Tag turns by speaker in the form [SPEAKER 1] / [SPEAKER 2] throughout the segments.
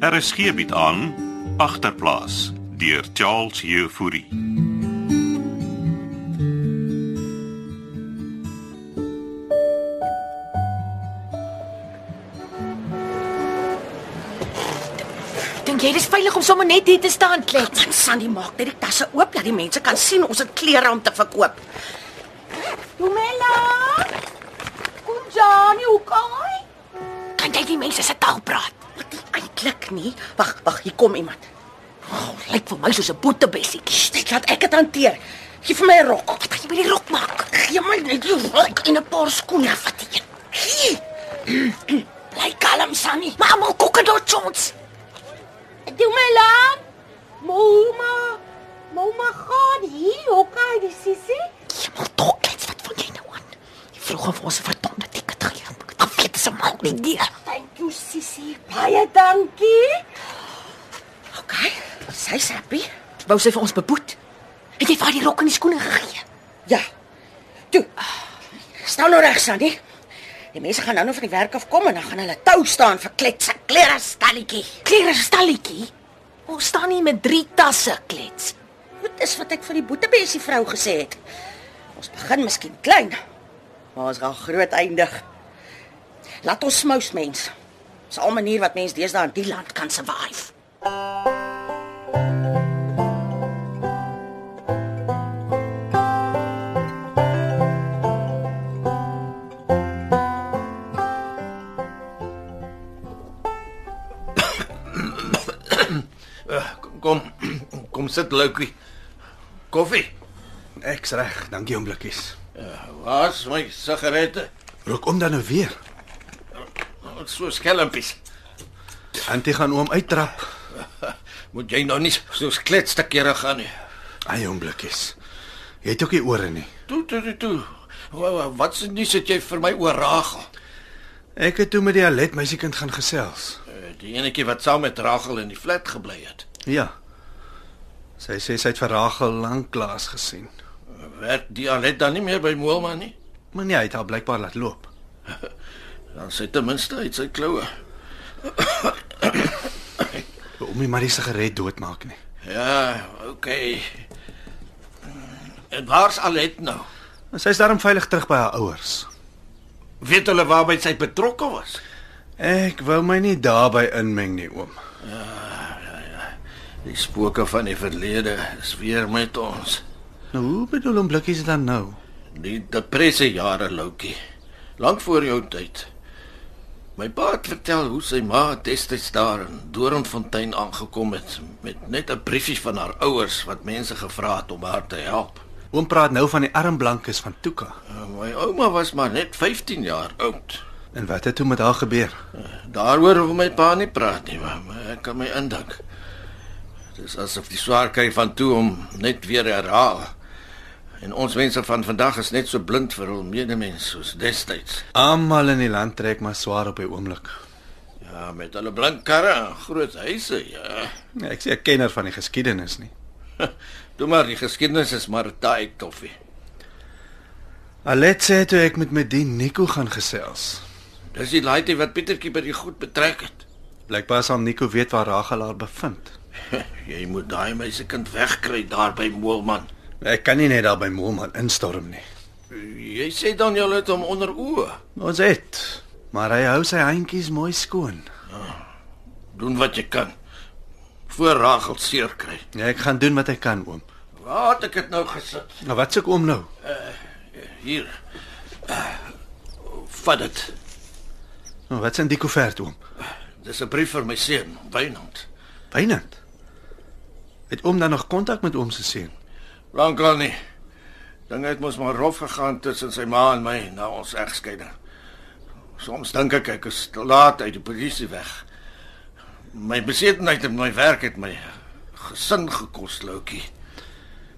[SPEAKER 1] RSG bied Er aan agterplaas deur Charles Jefouri.
[SPEAKER 2] Dink jy dis veilig om sommer net hier te staan klet?
[SPEAKER 3] Wat Sandy maak net die tasse oop dat die mense kan sien ons het klere om te verkoop.
[SPEAKER 2] Dumela. Kom Janie, hoe gaan? Kan jy die mense se taal praat?
[SPEAKER 3] Wat die eintlik nie. Wag, wag, hier kom iemand.
[SPEAKER 2] Oh, lyk vir my soos 'n boetebessie. Sst,
[SPEAKER 3] Ek laat ek dit hanteer. Gee vir my 'n rok.
[SPEAKER 2] Wat gaan jy met die rok maak?
[SPEAKER 3] Gee
[SPEAKER 2] Ja,
[SPEAKER 3] my net die rok en 'n paar skoene.
[SPEAKER 2] Wat die een?
[SPEAKER 3] Gee.
[SPEAKER 2] Bly kalm, Sunny. Maar almal kook dit ons.
[SPEAKER 4] Dumela. Moma. Moma gaan hier hokai die sissie.
[SPEAKER 2] Hemel tog, klets, wat van
[SPEAKER 3] nè,
[SPEAKER 2] jy nou aan? Die vrou gaan vir ons 'n verdomde tiket gee. Dan weet sy maar ook nie die.
[SPEAKER 4] Thank you sissie. Baie dankie.
[SPEAKER 3] OK. Sy's happy.
[SPEAKER 2] Wou sy vir ons beboet? Het jy vir haar die rok en die skoene gegee?
[SPEAKER 3] Ja. Toe. Staan nou reg, Sandy. Die mense gaan nou nog van die werk af kom en dan gaan hulle tou staan vir kletse klere stalletjie.
[SPEAKER 2] Klere stalletjie. Ons staan hier met drie tasse klets.
[SPEAKER 3] Dit is wat ek vir die boetebesie vrou gesê het. Ons begin miskien klein, maar ons gaan groot eindig. Laat ons smous mens. Dis al 'n manier wat mens deesdae in die land kan survive.
[SPEAKER 5] Kom, kom sit Loukie. Koffie.
[SPEAKER 6] Ek's reg, dankie oom blikkies.
[SPEAKER 5] Waar's my sigarette?
[SPEAKER 6] Rook om dan nou weer.
[SPEAKER 5] Wat so skelmpies.
[SPEAKER 6] Antie gaan oom uittrap.
[SPEAKER 5] Moet jy nou nie so kletste kere gaan nie.
[SPEAKER 6] Ai oom blikkies. Jy het ook nie ore nie.
[SPEAKER 5] Toe toe toe. toe. Wa- wa- Wat se nuus het jy vir my oor Ragel?
[SPEAKER 6] Ek het toe met die Alet meisiekind gaan gesels.
[SPEAKER 5] Eh, Die enetjie wat saam met Ragel in die flat gebly het.
[SPEAKER 6] Ja. Sy sê sy het vir Rachel lank klaas gesien.
[SPEAKER 5] Werk die Alet dan nie meer by Moelman nie?
[SPEAKER 6] Maar nee, hy het haar blykbaar laat loop.
[SPEAKER 5] Dan sit ten minste uit sy kloue.
[SPEAKER 6] Om nie maar die sigaret doodmaak nie.
[SPEAKER 5] Ja, okay. En waar's Alet nou?
[SPEAKER 6] Maar Sy's daarom veilig terug by haar ouers.
[SPEAKER 5] Weet hulle waarby sy betrokke was?
[SPEAKER 6] Ek wil my nie daarbey inmeng nie, oom.
[SPEAKER 5] Die spooke van die verlede is weer met ons.
[SPEAKER 6] Nou hoe bedoel oom blikkies dan nou?
[SPEAKER 5] Die depressie jare Loukie. Lank voor jou tyd. My pa het vertel hoe sy ma destyds daar in Doringfontein aangekom het met net 'n briefie van haar ouers wat mense gevra het om haar te help.
[SPEAKER 6] Oom praat nou van die armblankes van Tuka.
[SPEAKER 5] En My ouma was maar net 15 jaar oud.
[SPEAKER 6] En wat het toe met haar gebeur?
[SPEAKER 5] Daaroor wil my pa nie praat nie, maar maar ek kan my indink. Dit is asof die swaar kry van toe om net weer herhaal. En ons mense van vandag is net so blind vir hul medemens soos destyds.
[SPEAKER 6] Almal in die land trek maar swaar op die oomblik.
[SPEAKER 5] Ja, met hulle blink karre en groot huise, ja.
[SPEAKER 6] Nee, Ek sê 'n kenner van die geskiedenis nie.
[SPEAKER 5] Toe maar die geskiedenis is maar taai toffie.
[SPEAKER 6] Alet sê toe ek met my dien Nico gaan gesels.
[SPEAKER 5] Dis die laaitjie wat Pietertjie by die goed betrek het.
[SPEAKER 6] Blykbaar sal Nico weet waar Rachel haar bevind.
[SPEAKER 5] Jy moet daai meisiekind wegkry daar by Moelman.
[SPEAKER 6] Ek kan nie net daar by Moelman instorm nie.
[SPEAKER 5] Jy sê dan jy het hom onder oë.
[SPEAKER 6] Ons het, maar hy hou sy handjies mooi skoon.
[SPEAKER 5] Doen wat jy kan. Voor Ragel seer kry.
[SPEAKER 6] Ja, ek gaan doen wat ek kan, oom.
[SPEAKER 5] Waar het ek dit nou gesit?
[SPEAKER 6] Nou wat soek oom nou?
[SPEAKER 5] Hier. Uh, vat dit.
[SPEAKER 6] Nou wat s'n die koevert oom?
[SPEAKER 5] Dis 'n brief vir my seun, Wynand.
[SPEAKER 6] Wynand. Het oom dan nog kontak met oom se seun?
[SPEAKER 5] Lankal nie. Dinge het mos maar rof gegaan tussen sy ma en my na ons egskeiding. Soms dink ek ek is te laat uit die polisie weg. My besetenheid en my werk het my gesin gekos, Loukie.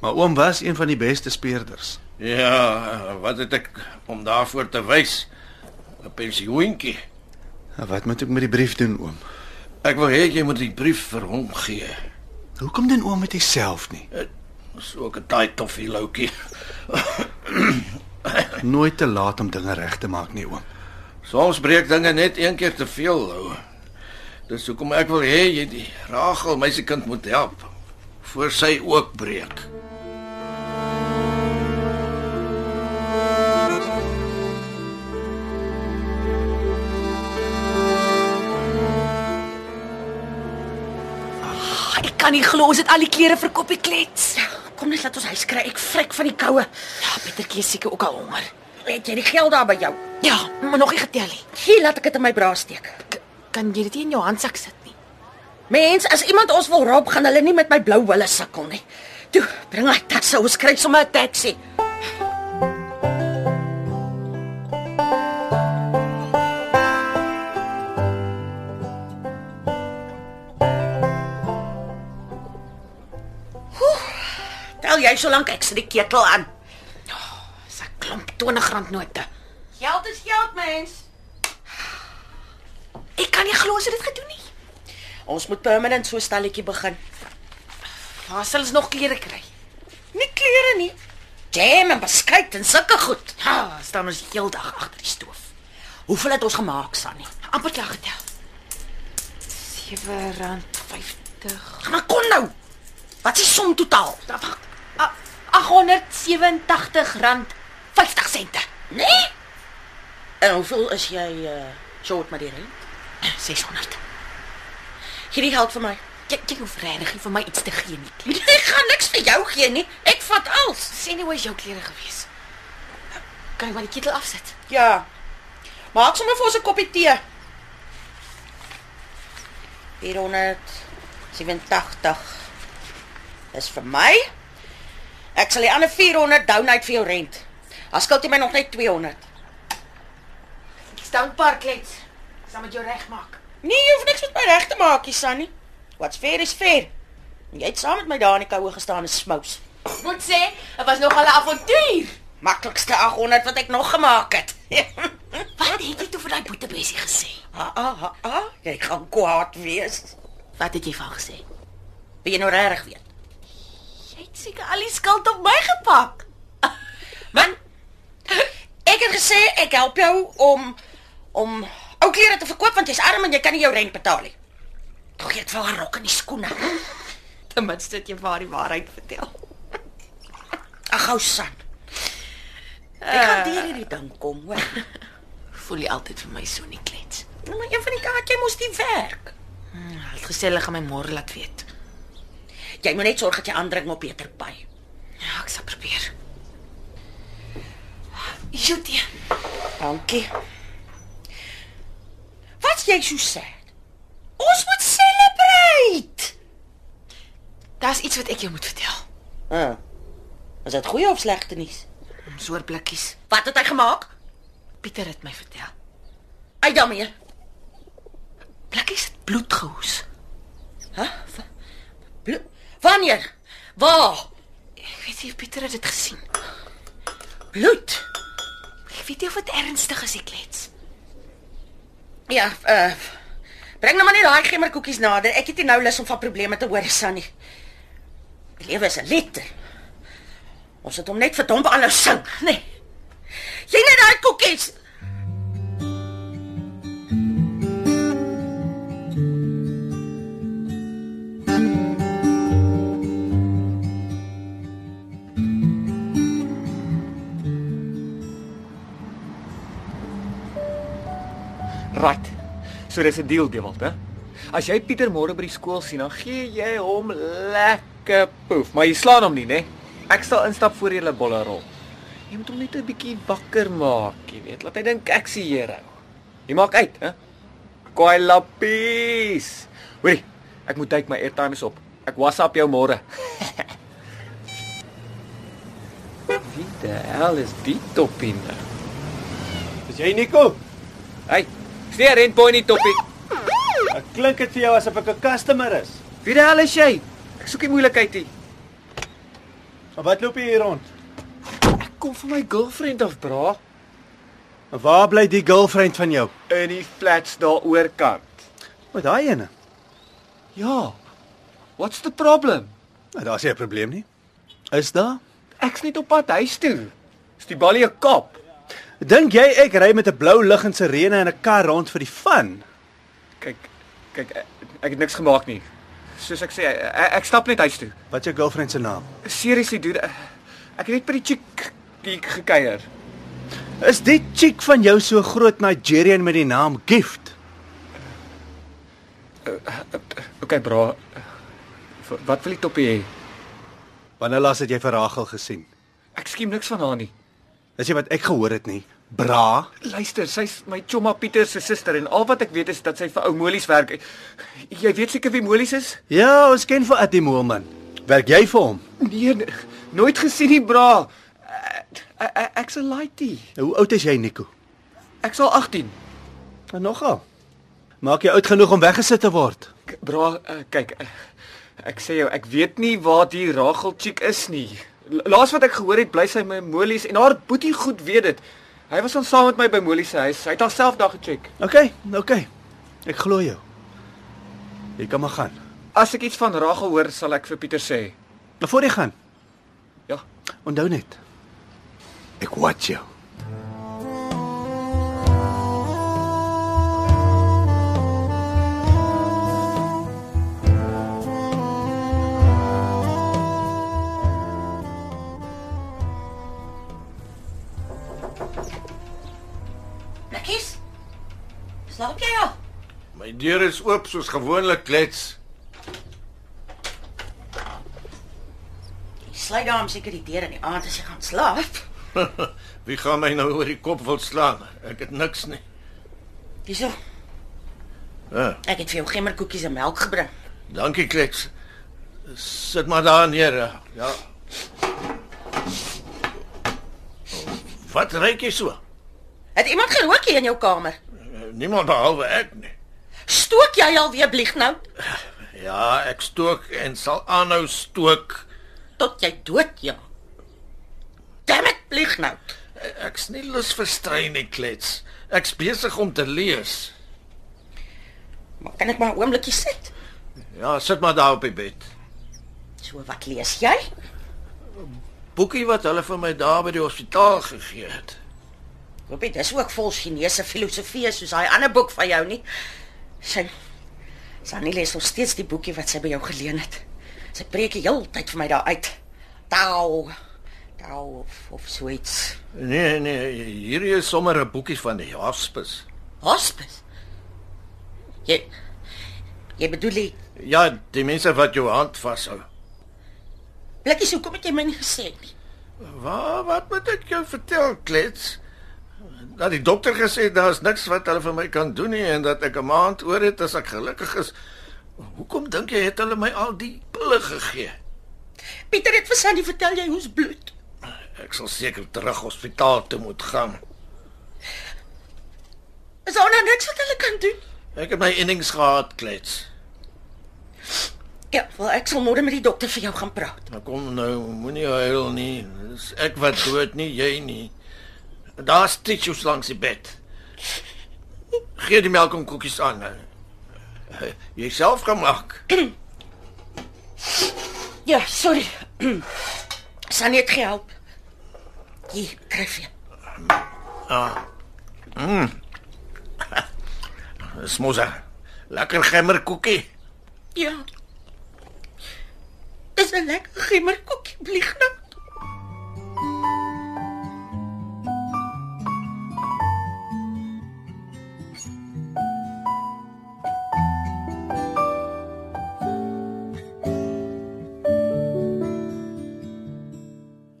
[SPEAKER 6] Maar oom was een van die beste speerders.
[SPEAKER 5] Ja, wat het ek om daarvoor te wys? 'n Pensioentjie.
[SPEAKER 6] Nou, Wat moet ek met die brief doen, oom?
[SPEAKER 5] Ek wil hê jy moet die brief vir hom gee.
[SPEAKER 6] Hoekom doen oom dit self nie?
[SPEAKER 5] Dis ook 'n taai toffie, Loukie.
[SPEAKER 6] Nooit te laat om dinge reg te maak nie, oom.
[SPEAKER 5] Soms breek dinge net een keer te veel, ou. Dis hoekom ek wil hê jy die Ragel meisiekind moet help voor sy ook breek.
[SPEAKER 2] Ag, Ah, ek kan nie glo ons het al die klere vir koppie klets.
[SPEAKER 3] Ja, Kom net laat ons huis kry. Ek vrek van die koue.
[SPEAKER 2] Ja, Pietertjie is seker ook al honger.
[SPEAKER 3] Het jy die geld daar by jou?
[SPEAKER 2] Ja, maar nog nie getel nie.
[SPEAKER 3] Hier laat ek dit in my bra steek.
[SPEAKER 2] K kan jy dit nie in jou handsak sit nie?
[SPEAKER 3] Mens, as iemand ons wil rob, gaan hulle nie met my blou wille sukkel nie. Toe, bring haar tasse, ons kry sommer 'n taxi. Oeh, Tel jy solank ek sit die ketel aan.
[SPEAKER 2] Dis 'n klomp R20 note.
[SPEAKER 3] Geld is geld, mens.
[SPEAKER 2] Ek kan nie glo ons het dit gedoen nie.
[SPEAKER 3] Ons moet permanent so stalletjie begin.
[SPEAKER 2] Waar sal ons nog klere kry?
[SPEAKER 3] Nie klere nie. Jam en beskuit en sulke goed.
[SPEAKER 2] Ja, staan ons die hele dag agter die stoof.
[SPEAKER 3] Hoeveel het ons gemaak, Sannie?
[SPEAKER 2] Amper klaar getel. R7.50.
[SPEAKER 3] Maar kon nou. Wat is die som totaal?
[SPEAKER 2] Wag. a- R887.50.
[SPEAKER 3] Nee? En hoeveel is jy uh short met die rent?
[SPEAKER 2] 600.
[SPEAKER 3] Hierdie geld vir my.
[SPEAKER 2] Jy jy hoef regtig nie vir my iets te gee nie. Klee.
[SPEAKER 3] Ek gaan niks vir jou gee nie. Ek vat alles.
[SPEAKER 2] Sien nie hoe is jou klere gewees. Eh, Kan ek maar die ketel afsit?
[SPEAKER 3] Ja. Maak sommer vir ons 'n koppie tee. 487 is vir my. Ek sal die ander 400 donate vir jou rent. As skuld jy my nog net 200.
[SPEAKER 2] Ek staan park klets. Sal met jou regmaak.
[SPEAKER 3] Nee, jy hoef niks met my reg te maak, nie, Sunny. What's fair is fair. Jy het saam met my daar in die koue gestaan en smous.
[SPEAKER 2] Moet sê, dit was nogal 'n avontuur.
[SPEAKER 3] Maklikste 800 wat ek nog gemaak het.
[SPEAKER 2] Wat het jy toe vir daai boetebesie gesê?
[SPEAKER 3] ah, ah, ah, ah, jy gaan kwaad wees.
[SPEAKER 2] Wat het jy van gesê?
[SPEAKER 3] Wie nou reg weet.
[SPEAKER 2] Jy het seker al die skuld op my gepak.
[SPEAKER 3] Man. Ek het gesê ek help jou om om ou klere te verkoop want jy's arm en jy kan nie jou rent betaal nie. Tog ek vir haar rok en die skoene.
[SPEAKER 2] Ten minste het jy vir haar die waarheid vertel.
[SPEAKER 3] Ag gou san. Ek
[SPEAKER 2] Ah.
[SPEAKER 3] gaan deur hierdie ding kom, hoor.
[SPEAKER 2] Voel jy altyd vir my so nie klets?
[SPEAKER 3] Nou maar een van die dae het jy mos die werk.
[SPEAKER 2] Hulle Ja, het gesê hulle gaan my môre laat weet.
[SPEAKER 3] Jy moet net sorg dat jy aandring op Peter Pay.
[SPEAKER 2] Ja, ek sal probeer. Jy dit.
[SPEAKER 3] Dankie. Wat jy so sê? Ons moet celebrate.
[SPEAKER 2] Daar's iets wat ek jou moet vertel.
[SPEAKER 3] Ah. Is dit goeie of slegte nuus?
[SPEAKER 2] Soor blikkies.
[SPEAKER 3] Wat het hy gemaak?
[SPEAKER 2] Pieter het my vertel.
[SPEAKER 3] Uit daarmee.
[SPEAKER 2] Blikkies het bloed gehoes.
[SPEAKER 3] Hæ? Wa- blo- Wanneer? Waar?
[SPEAKER 2] Ek weet nie of Pieter het dit gesien.
[SPEAKER 3] Bloed.
[SPEAKER 2] Ek weet nie of dit ernstig is, ek klets.
[SPEAKER 3] Ja, uh Bring nou maar net daai gemmerkoekies nader. Ek het nie nou lus om van probleme te hoor, Sannie. Die lewe is 'n letter. Ons het hom net verdomp alou sing, nê? Nee. Jy net daai koekies.
[SPEAKER 7] Right. So dis 'n deal, Dewald, hè? As jy Pieter môre by die skool sien, dan gee jy hom lekker poef, maar jy slaan hom nie, né? Ek sal instap voor jy hulle bolle rol. Jy moet hom net 'n bietjie wakker maak, jy weet. Laat hy dink ek sien Here. Jy maak uit, hè? Kwaai lappies. Hoorie, ek moet tyd my airtime is op. Ek WhatsApp jou môre. Wie die hel is die toppie nou?
[SPEAKER 8] Dis jy Nico?
[SPEAKER 7] Hey, steer en point die toppie.
[SPEAKER 8] Ek klink dit vir jou asof ek 'n customer is.
[SPEAKER 7] Wie die hel is jy? Ek soek nie moeilikheid nie.
[SPEAKER 8] Maar wat loop jy hier rond?
[SPEAKER 7] Ek kom vir my girlfriend af, bra,
[SPEAKER 8] En waar bly die girlfriend van jou?
[SPEAKER 7] in die flats daaroor kant.
[SPEAKER 8] Met daai ene.
[SPEAKER 7] Ja. What's the problem?
[SPEAKER 8] Nou daar's nie 'n probleem nie. Is daar?
[SPEAKER 7] Ek's net op pad huis toe. Is die balie 'n kop?
[SPEAKER 8] Dink jy ek ry met 'n blou lig en sirene in 'n kar rond vir die fun?
[SPEAKER 7] Kyk, Kyk, ek, ek het niks gemaak nie. Soos ek sê, e, ek, ek stap net huis toe.
[SPEAKER 6] Wat jou girlfriend se naam?
[SPEAKER 7] Seriously, dude, ek- ek het net by die chick die ek gekuier.
[SPEAKER 6] Is die chick van jou so groot Nigerian met die naam Gift?
[SPEAKER 7] Okay, bra. v- Wat wil die toppie hê?
[SPEAKER 6] Wanneer laas het jy vir Rachel gesien?
[SPEAKER 7] Ek skiem niks van haar nie.
[SPEAKER 6] Dis jy wat ek gehoor het nie. Bra.
[SPEAKER 7] Luister, sy's my chomma Pieter se suster en al wat ek weet is dat sy vir ou Molies werk. Jy weet seker wie Molies is?
[SPEAKER 6] Ja, ons ken vir Attie Moelman. Werk jy vir hom?
[SPEAKER 7] Nee, n- nooit gesien nie, bra. Ek ek- ek's 'n laaitie.
[SPEAKER 6] Hoe oud is jy, Nico?
[SPEAKER 7] Ek's al 18.
[SPEAKER 6] En nogal. Maak jy oud genoeg om weggesit te word?
[SPEAKER 7] K- Bra, eh, kyk. eh, Ek sê jou, ek weet nie waar die Ragel chick is nie. La- Laas wat ek gehoor het, bly sy my Molies en haar boetie goed weet dit. Hy was ons saam met my by Molies se huis. Hy het haarself daar gecheck.
[SPEAKER 6] OK, OK. Ek glo jou. Jy kan maar gaan.
[SPEAKER 7] As ek iets van Ragel hoor, sal ek vir Pieter sê.
[SPEAKER 6] Maar voor jy gaan,
[SPEAKER 7] Ja.
[SPEAKER 6] onthou net. Ek watch jou.
[SPEAKER 3] Blikkies? Slaap jy al?
[SPEAKER 5] My deur is oop soos gewoonlik, klets.
[SPEAKER 3] Jy sluit daarom seker die deur in die aand as jy gaan slaap.
[SPEAKER 5] Wie gaan my nou oor die kop wil slaan? Ek het niks nie.
[SPEAKER 3] Hierso,
[SPEAKER 5] Ja,
[SPEAKER 3] ek het vir jou gemmerkoekies en melk gebring.
[SPEAKER 5] dankie, klets. Sit maar daar neer. ja. Ja. Wat reik jy so?
[SPEAKER 3] Het iemand gerook hier in jou kamer?
[SPEAKER 5] Niemand behalwe ek nie.
[SPEAKER 3] Stook jy alweer blieg nou
[SPEAKER 5] Ja, ek stook en sal aanhou stook.
[SPEAKER 3] tot jy dood ja. Damn it, blieg nou.
[SPEAKER 5] Ek's nie lus vir strei nie, klets. Ek's besig om te lees.
[SPEAKER 3] Maar kan ek maar 'n oombliekie sit?
[SPEAKER 5] Ja, sit maar daar op die bed.
[SPEAKER 3] So wat lees jy?
[SPEAKER 5] Boekie wat hulle vir my daar by die hospitaal gegee het.
[SPEAKER 3] Hoop dit is ook vol Chinese filosofie soos daai ander boek van jou nie. Sy Sannie lees nog steeds die boekie wat sy by jou geleen het. Sy preek die hele tyd vir my daar uit. Tao. Tao of, of so iets.
[SPEAKER 5] Nee, nee, hierdie is sommer 'n boekie van die hospis.
[SPEAKER 3] Hospice. Jy Jy bedoel die
[SPEAKER 5] Ja, die mense wat jou hand vashou.
[SPEAKER 3] blikkies hoekom het jy my nie gesê nie?
[SPEAKER 5] Waar wat moet ek jou vertel, klets? Dat die dokter gesê het daar's niks wat hulle vir my kan doen nie en dat ek 'n maand oor het as ek gelukkig is. Hoekom dink jy het hulle my al die pille gegee?
[SPEAKER 3] Pieter het vir Sannie vertel jy hoes bloed.
[SPEAKER 5] Ek sal seker terug hospitaal toe moet gaan.
[SPEAKER 3] Is daar nou niks wat hulle kan doen?
[SPEAKER 5] Ek het my innings gehad, klets.
[SPEAKER 3] Ja, wel ek sal môre met die dokter vir jou gaan praat.
[SPEAKER 5] Nou kom nou, moenie huil nie. Dis ek wat dood nie, jy nie. Daar's tissues langs die bed. Gee die melk en koekies aan. nou. Jy self gemaak.
[SPEAKER 3] Ja, sorry. Sannie het gehelp. Hier, kry vir.
[SPEAKER 5] Dis mos 'n lekker gemmerkoekie.
[SPEAKER 3] Ja. Dis 'n lekker gimmerkoekie, blieg nou.